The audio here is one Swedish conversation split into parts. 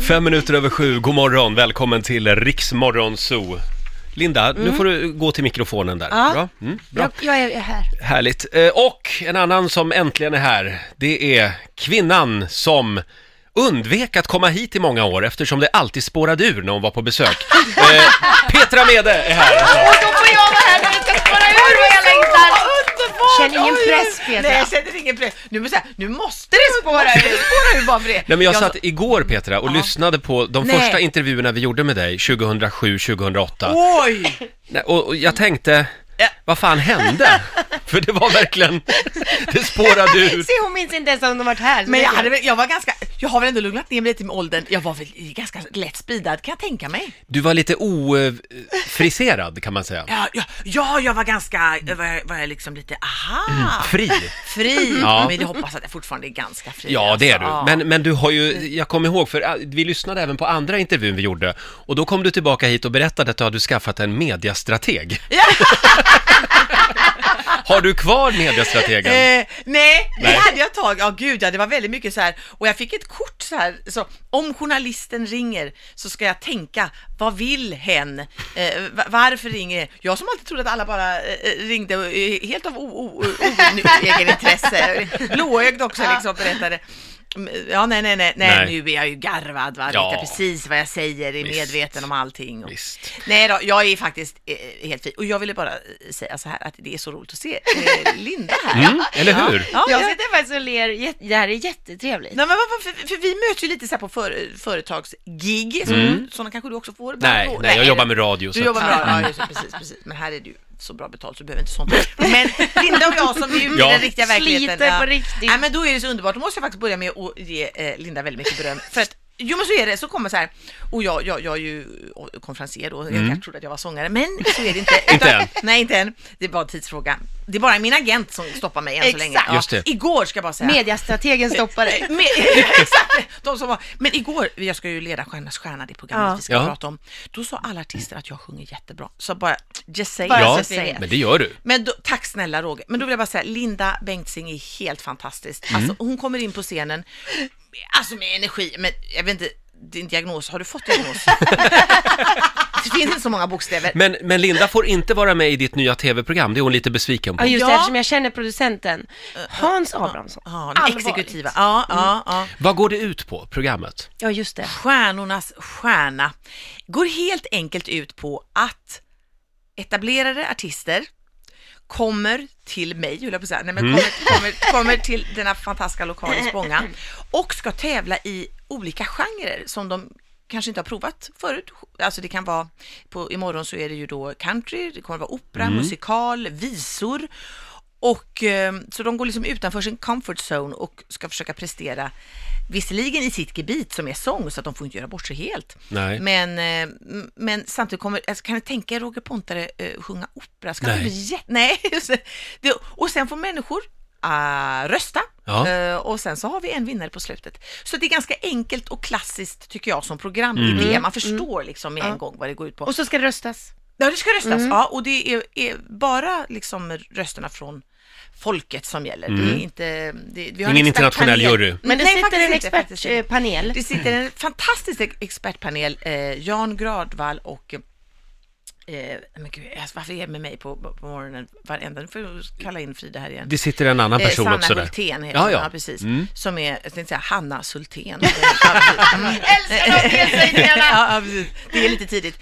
Fem minuter över sju, god morgon, välkommen till Riksmorgon Zoo. Linda, nu får du gå till mikrofonen där. Ja. Bra. Mm, bra. Jag, jag är här. Härligt. Eh, Och en annan som äntligen är här, det är kvinnan som undvek att komma hit i många år eftersom det alltid spårade ur när hon var på besök. Eh, Petra Mede är här. Och då får jag vara här när det ska spåra ur vad jag längtar! Känner ingen press, Petra. Nej, jag känner ingen press. Nu, måste jag, nu måste det spåra ur. Det spårar ur bara för det. Nej, men jag satt igår Petra och lyssnade på de Nej. första intervjuerna vi gjorde med dig 2007-2008. Oj! Nej, och, och jag tänkte, Ja. vad fan hände? För det var verkligen, det spårade ur. Se, hon minns inte ens om de varit här. så Men det jag, är hade, bra. väl- jag var ganska, jag har väl ändå lugnat ner mig lite med åldern. Jag var väl i ganska lätt speedad kan jag tänka mig. Du var lite ofriserad kan man säga. Ja, ja, ja jag var ganska, var jag, var jag liksom lite, aha, Fri. fri. Mm. Ja. Men jag hoppas att jag fortfarande är ganska fri. Ja, det är du. alltså. Ja. Men, men du har ju, jag kommer ihåg, för eh, vi lyssnade även på andra intervjun vi gjorde och då kom du tillbaka hit och berättade att du hade skaffat en mediastrateg. har du kvar mediastrategen? Eh, nej, det Nej. hade jag ett tag. Ja, gud ja, det var väldigt mycket så här. Och jag fick ett kort så här. Så om journalisten ringer så ska jag tänka, vad vill hen? Eh, va- varför ringer hen? Jag som alltid trodde att alla bara eh, ringde och, eh, helt av o- o- o- egenintresse. Blåögd också liksom berättade. Mm, Ja, nej, nej, nej, nej, Nej. nu är jag ju garvad, va? Ja. Ja. precis vad jag säger, är Visst. medveten om allting. Och... Visst. Nej då, jag är faktiskt eh, helt fin. Och jag ville bara eh, säga så här att det är så roligt att se eh, Linda här. Mm, eller hur? Ja, Jag ja. sitter faktiskt och ler, jätte- det här är jättetrevligt. Nej, men vad- vad- för, för vi möts ju lite så här på för, företagsgig, som, sådana kanske du också får. Mm. Nej, Då- nej, jag jobbar med radio. Du Så jobbar att, med radio, ja, just, det, precis, precis. Men här är du så bra betalt så du behöver inte sånt. Men Linda och jag som är ute Ja. i den riktiga verkligheten. Sliter på riktigt. Nej, men då är det så underbart. Då måste jag faktiskt börja med att ge eh, Linda väldigt mycket beröm. För att, jo men så är det, så kommer så här, och jag, jag, jag är ju eh, konferencier då, jag kanske trodde att jag var sångare, men så är det inte. Mm. Inte än. Nej, inte än. Det är bara en tidsfråga. Det är bara min agent som stoppar mig än så Exakt. länge. Ja. Just det. Igår ska jag bara säga. Mediastrategen stoppar dig. Eh, Men, exakt, de som var, men igår, jag ska ju leda Stjärnornas stjärna, det programmet Ja. vi ska Ja. prata om. Då sa alla artister att jag sjunger jättebra. Så bara, just say Bara it, Ja, just say it. men det gör du. Men då, tack snälla Roger. Men då vill jag bara säga, Linda Bengtzing är helt fantastisk. Mm. Alltså, hon kommer in på scenen, alltså med energi, men jag vet inte, din diagnos, har du fått diagnos? det finns inte så många bokstäver. Men, men Linda får inte vara med i ditt nya tv-program, det är hon lite besviken Ja, Eh, på. just det, Ja. eftersom jag känner producenten. Hans Abrahamsson. Ja, den Allvarligt. exekutiva. Ja, ja, ja. Vad går det ut på, programmet? Ja, just det. Stjärnornas stjärna går helt enkelt ut på att etablerade artister kommer till mig, höll jag på att säga, nej men kommer, kommer, kommer till denna fantastiska lokal i Spånga och ska tävla i olika genrer som de kanske inte har provat förut. Alltså det kan vara, på, imorgon så är det ju då country, det kommer vara opera, musikal, visor och eh, så de går liksom utanför sin comfort zone och ska försöka prestera, visserligen i sitt gebit som är sång, så att de får inte göra bort sig helt. Nej. Men, eh, m- men samtidigt kommer, alltså, kan ni tänka er Roger Pontare eh, sjunga opera? Ska Nej. Nej. Bli jä- Nej. just det. det, och sen får människor ah, rösta. Ja. Eh, och sen så har vi en vinnare på slutet. Så det är ganska enkelt och klassiskt tycker jag som Mm. programidé. Man förstår liksom med en gång vad det går ut på. Och Mm. så ska det röstas. Ja, det ska röstas. Ja, och det är, är bara liksom rösterna från folket som gäller. Det är inte... Det, vi Mm. har Ingen en internationell expertpanel. jury. Men det Nej, sitter faktiskt en eh, inte, faktiskt inte. expertpanel. Det sitter en fantastisk ex- expertpanel, eh, Jan Gradvall och Eh, men gud, alltså, varför är det med mig på, på morgonen varenda... Nu får jag kalla in Frida här igen. Det sitter en annan Eh, person Sanna också där. Hultén heter ja, hon, ja. Mm. ja, precis. Som är, jag tänkte säga Hanna Sultén. Älskar de felsägningarna! ja, ja, precis. Det är lite tidigt.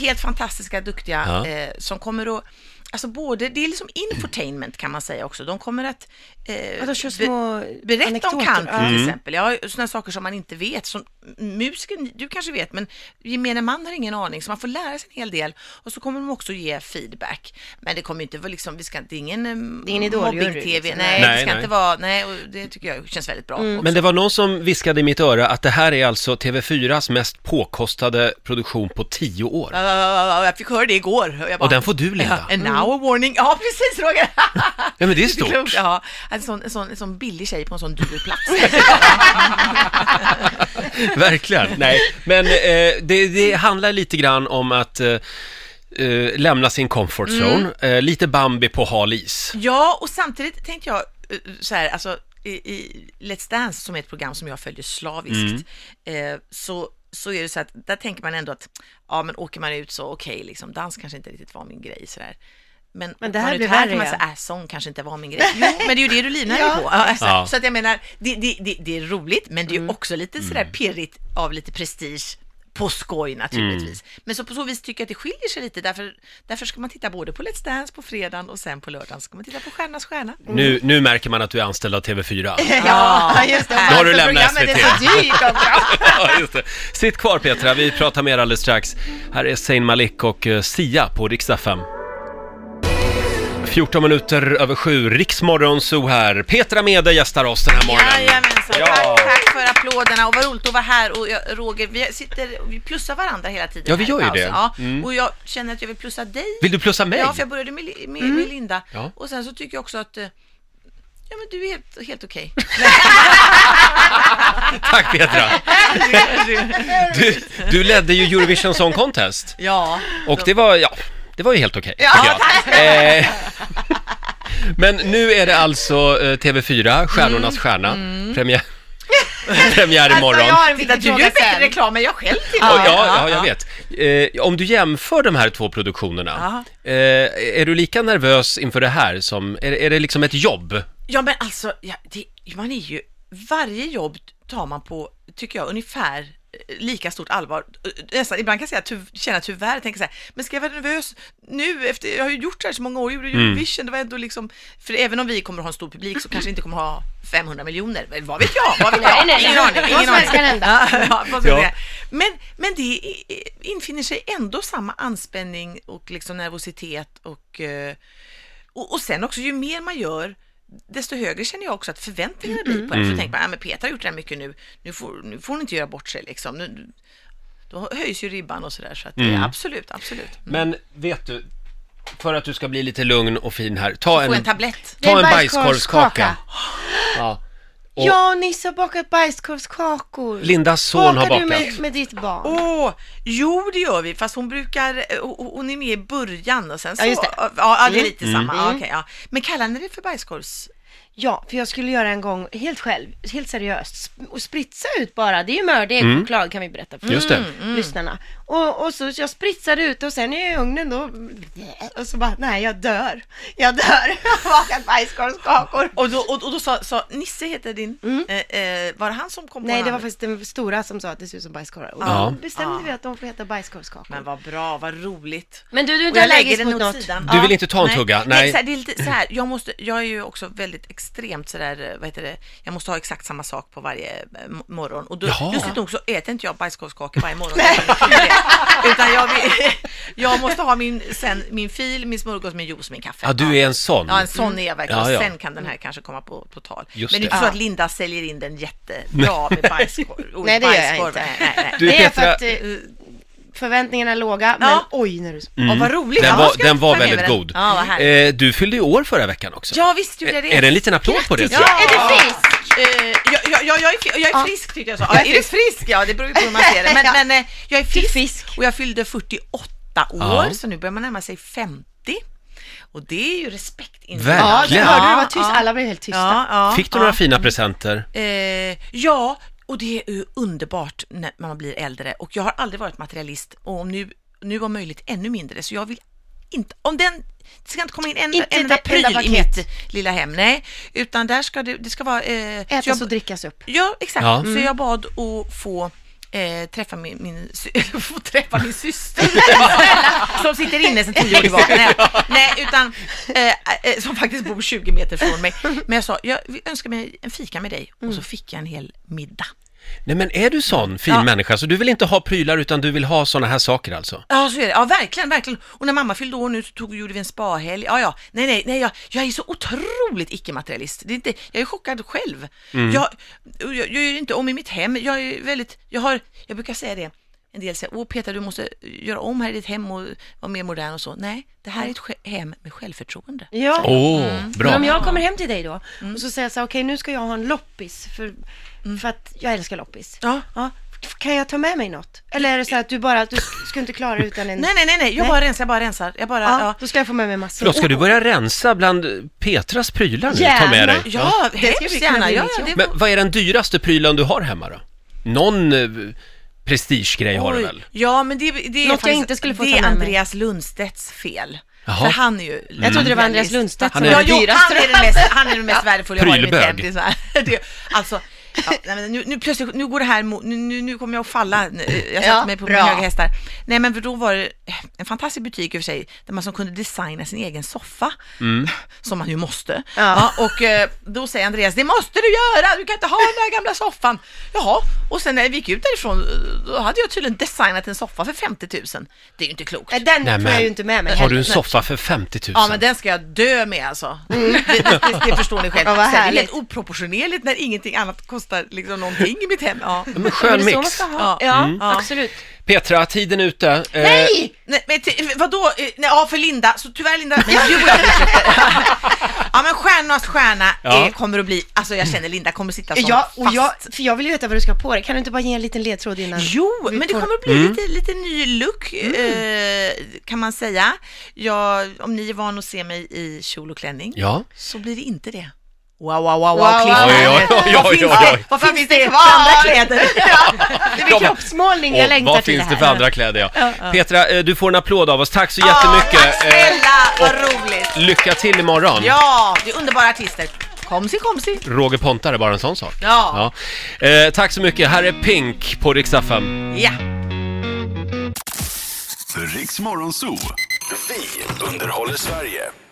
Helt fantastiska, duktiga Ja. eh, som kommer att Alltså både, det är liksom infotainment kan man säga också. De kommer att eh, Ja, de kör be- små berätta om anekdoter. country Ja. Mm. till exempel. Ja, sådana saker som man inte vet. Som musiken, du kanske vet, men gemene man har ingen aning. Så man får lära sig en hel del och så kommer de också ge feedback. Men det kommer ju inte vara liksom, vi ska, det är ingen, mm, Det är ingen idoljury, mobbing-tv. liksom. Mm. Nej, Nej, det ska nej. inte vara, nej, och det tycker jag känns väldigt bra. också. Men det var någon som viskade i mitt öra att det här är alltså TV4s mest påkostade produktion på tio år. Ja, ja, ja, ja, "Ah, Jag fick höra det igår. jag bara- Och den får du, Linda. Ja, en Mm. hour warning. Ja, precis Roger. Ja, men det är Det är stort. klokt. Ja, en sån, en, sån, en sån billig tjej på en sån dyr plats. Verkligen. Nej, men eh, det, det handlar lite grann om att eh, eh, lämna sin comfort Mm. zone. Eh, lite Bambi på hal is. ja, och samtidigt tänkte jag eh, så här, Mm. alltså i, i Let's Dance som är ett program som jag följer slaviskt, eh, så så är det så att där tänker man ändå att ja, men åker man ut så okej, liksom dans kanske inte riktigt var min grej sådär. Men, Men det åker här man ut blir här värre kan man ju. säga, äh, sång kanske inte var min grej. Jo, men det är ju det du livnär dig på. Ja, alltså, Ja. Mm. Så att jag menar, det, det, det, det är roligt, men det är ju också lite sådär pirrigt av lite prestige på skoj naturligtvis. Mm. Men så på så vis tycker jag att det skiljer sig lite, därför, därför ska man titta både på Let's Dance på fredagen och sen på lördagen ska man titta på Stjärnornas stjärna. Nu, nu märker man att du är anställd av TV4. Ja, just det. Nu har du lämnat Programmet är SVT. så dyrt också. Ja, just det. Sitt kvar Petra, vi pratar mer alldeles strax. Här är Zayn Malik och eh, Sia på riksdag 5. 14 minuter över sju, Riksmorgon Zoo här. Petra Mede gästar oss den här morgonen. Jajamensan, Ja. tack, tack för applåderna och vad roligt att vara här och jag, Roger, vi sitter, vi plussar varandra hela tiden. Ja, vi här i gör ju pausen. det. Mm. Ja, och jag känner att jag vill plussa dig. Vill du plussa mig? Ja, för jag började med, Li- med, med Linda Ja. och sen så tycker jag också att eh, Ja men du är helt, helt okej. Tack Petra! Du, du ledde ju Eurovision Song Contest Ja. och det var, ja, det var ju helt okej. tycker jag. Eh, Men nu är det alltså eh, TV4, Stjärnornas stjärna, premiär, premiär imorgon. Alltså, jag har en Titta, viktig du fråga gör mycket sen. reklam men jag själv till Ja, ja, ja, jag vet. Eh, om du jämför de här två produktionerna, eh, är du lika nervös inför det här som, är, är det liksom ett jobb? Ja men alltså, ja, det, man är ju, varje jobb tar man på, tycker jag, ungefär eh, lika stort allvar. Eh, Nästan, ibland kan jag säga, ty, känna tyvärr, tänka så här, men ska jag vara nervös nu efter, jag har ju gjort det här så många år, jag gjorde Eurovision, det var ändå liksom, för även om vi kommer att ha en stor publik så kanske vi inte kommer att ha 500 miljoner, Men vad vet jag, vad vet Nej, nej, jag, nej. ingen aning, Vad ingen som helst kan aning. hända. Ja, vad ska jag Ja. säga? Men, men det i- i- infinner sig ändå samma anspänning och liksom nervositet och eh, och, och sen också, ju mer man gör, desto högre känner jag också att förväntningarna blir Mm. på en. Så tänker man, ja men Peter har gjort det här mycket nu, nu får, nu får hon inte göra bort sig liksom. Nu, då höjs ju ribban och sådär, så att Mm. det är absolut, absolut. Mm. Men vet du, för att du ska bli lite lugn och fin här, ta Få en, en tablett. ta en Det är bajskorvskaka. Ja. Och Jag och Nisse har bakat bajskorvskakor. Lindas son har Bakar du bakat. med, med ditt barn? Åh, jo det gör vi, fast hon brukar, eh, hon hon är med i början och sen så, Ja, just det. Mm. ja, ja det är lite samma, ja, okej, ja. Men kallar ni det för bajskorvs? Ja, för jag skulle göra en gång helt själv, helt seriöst, sp- och spritsa ut bara. Det är ju mördig choklad kan vi berätta Mm. för mm. Just det. Mm. lyssnarna. Och, och så jag spritsade ut och sen är jag i ugnen då och så bara, nej jag dör. Jag dör. Jag har bakat bajskorvskakor. Och då, och, och då sa, sa Nisse heter din, eh, eh, var det han som kom Mm. på Nej, det var namnet? faktiskt den stora som sa att det ser ut som bajskorvar. Och då Ja. bestämde Ja. vi att de får heta bajskorvskakor. Men vad bra, vad roligt. Men du, du är Och inte jag lägger allergisk den mot åt något? sidan. Du vill inte ta en tugga? Nej. Så här, det är lite så här, jag, måste, jag är ju också väldigt extremt sådär, vad heter det, jag måste ha exakt samma sak på varje eh, m- morgon. Och då, Jaha. lustigt nog så äter inte jag bajskorvskakor varje morgon. Utan jag, vill, jag måste ha min, sen, min fil, min smörgås, min juice, min kaffe. Ja, du är en sån. Ja, en sån är jag verkligen. Ja, ja. Sen kan den här kanske komma på, på tal. Just Men det är det. inte så att Linda säljer in den jättebra med bajskorv. Nej, det gör jag inte. Nej, nej, nej. Du, det är Petra- för att eh, förväntningarna är låga, men Ja. oj när du... Mm. Ja, vad roligt. Den Ja, var, ska jag den var ta med mig väldigt den? god. Ja, vad härligt. Eh, du fyllde ju år förra veckan också. Ja, visst gjorde jag det. Är det en liten applåd på det? tror jag? Ja. Är du frisk? Eh, jag, jag, jag, jag, är, fi- jag är frisk tyckte jag sa. Ja, är du frisk? Ja, det beror ju på hur man ser det. Men, Ja. men eh, jag är Du är frisk, frisk. och jag fyllde 48 år, Ja. så nu börjar man närma sig 50. Och det är ju respekt. inte- Ja, Verkligen. det hörde du, det var tyst. Ja, Alla blev helt tysta. Ja, ja, Fick du ja. några fina presenter? Eh, ja, och det är ju underbart när man blir äldre och jag har aldrig varit materialist och om nu, nu om möjligt ännu mindre så jag vill inte, om den, det ska inte komma in en Inte enda ett enda pryl i paket. mitt lilla hem, nej, utan där ska det, det ska vara... Eh, så Ätas jag- och drickas upp. Ja, exakt. Ja. Så jag bad att få eh, träffa min, min, sy- få träffa min syster som sitter inne sedan tio år tillbaka. Nej, nej utan eh, eh, som faktiskt bor 20 meter från mig. Men jag sa, jag önskar mig en fika med dig och så fick jag en hel middag. Nej men är du Mm. sån fin Ja. människa? Så du vill inte ha prylar utan du vill ha såna här saker alltså? Mm. Ja, så är det. Ja, verkligen, verkligen. Och när mamma fyllde år nu så tog, gjorde vi en spahelg. Ja, ja. Nej, nej, nej. Jag, jag är så otroligt icke-materialist. Det är inte, jag är chockad själv. Jag, jag, jag gör inte om i mitt hem. Jag är väldigt, jag har, jag brukar säga det. En del säger, åh Peter, du måste göra om här i ditt hem och vara mer modern och så. Nej, det här är ett sj- hem med självförtroende. Mm. Ja. Åh, bra. Men om jag kommer hem till dig då och så säger jag så här, okej nu ska jag ha en loppis för, för att jag älskar loppis. Ja. Kan jag ta med mig något? Eller är det så här att du bara, att du ska inte klara utan en... Nej, nej, nej, nej. Jag Nej. bara rensar, jag bara rensar. Jag bara, Ja, ja. Då ska jag få med mig massor. Förlåt, ska du börja rensa bland Petras prylar nu? Ta med Gärna. dig. Ja, Det skulle hemskt kunna gärna. bli Ja, mitt ja, det Men vad är den dyraste prylen du har hemma då? Någon eh, prestigegrej har du väl? Ja, men det, det är jag faktiskt, inte skulle få det ta är med mig. Andreas Lundstedts fel. Jaha. För han är ju... Jag trodde det var Andreas Lundstedt Han som är- är, var ja, jo, dyrast. han är den mest, han är den mest värdefulla jag har i mitt hem. Prylebög. Det är så här. Det, alltså, ja, nej, men nu, nu plötsligt, nu går det här mot, nu, nu, nu kommer jag att falla. Nu, Jag satte Ja, mig på bra. mina höga hästar. Nej, men för då var det en fantastisk butik i och för sig, där man som kunde designa sin egen soffa, som man ju måste. Ja. Ja. och eh, då säger Andreas, det måste du göra, du kan inte ha den där gamla soffan. Jaha, och sen när vi gick ut därifrån, då hade jag tydligen designat en soffa för 50 000. Det är ju inte klokt. Nej, Den Nej, får jag men- ju inte med mig. Har du en Nej. soffa för 50 000? Ja men den ska jag dö med alltså. Det, det, det, det förstår ni själv. Mm. Ja, vad Sen, det är härligt. helt oproportionerligt när ingenting annat kostar liksom någonting i mitt hem. Ja. Men Men det skön är så man mix. ska ha. Ja. Ja, Mm. absolut. Petra, tiden är ute. Eh, Nej! Nej, men t- vadå, Eh, nej, ja för Linda, så tyvärr Linda, men du och jag fortsätter. Ja men stjärnornas stjärna Ja. eh, kommer att bli, alltså jag känner Linda kommer sitta som Ja, och fast. jag, för jag vill ju veta vad du ska ha på dig. Kan du inte bara ge en liten ledtråd innan? Jo, men det får- kommer att bli Mm. lite, lite ny look eh, kan man säga. Jag, om ni är van att se mig i kjol och klänning Ja. så blir det inte det. Wow, wow, wow, Wow, wow, cliffhanger. wow. Oj, oj, oj, Vad oj, finns oj, det- oj. Vad finns det för kvar? andra kläder? Det blir kroppsmålning, jag Och längtar vad till finns det här. för andra kläder? Ja. Petra, eh, du får en applåd av oss. Tack så jättemycket. tack snälla, vad roligt. Eh, lycka till imorgon. Ja, det är underbara artister. Komsi, komsi. Roger Pontare, bara en sån sak. Ja. Ja. Eh, tack så mycket. Här är Pink på Rix FM. Ja. Riks Morgonzoo. Vi underhåller Sverige.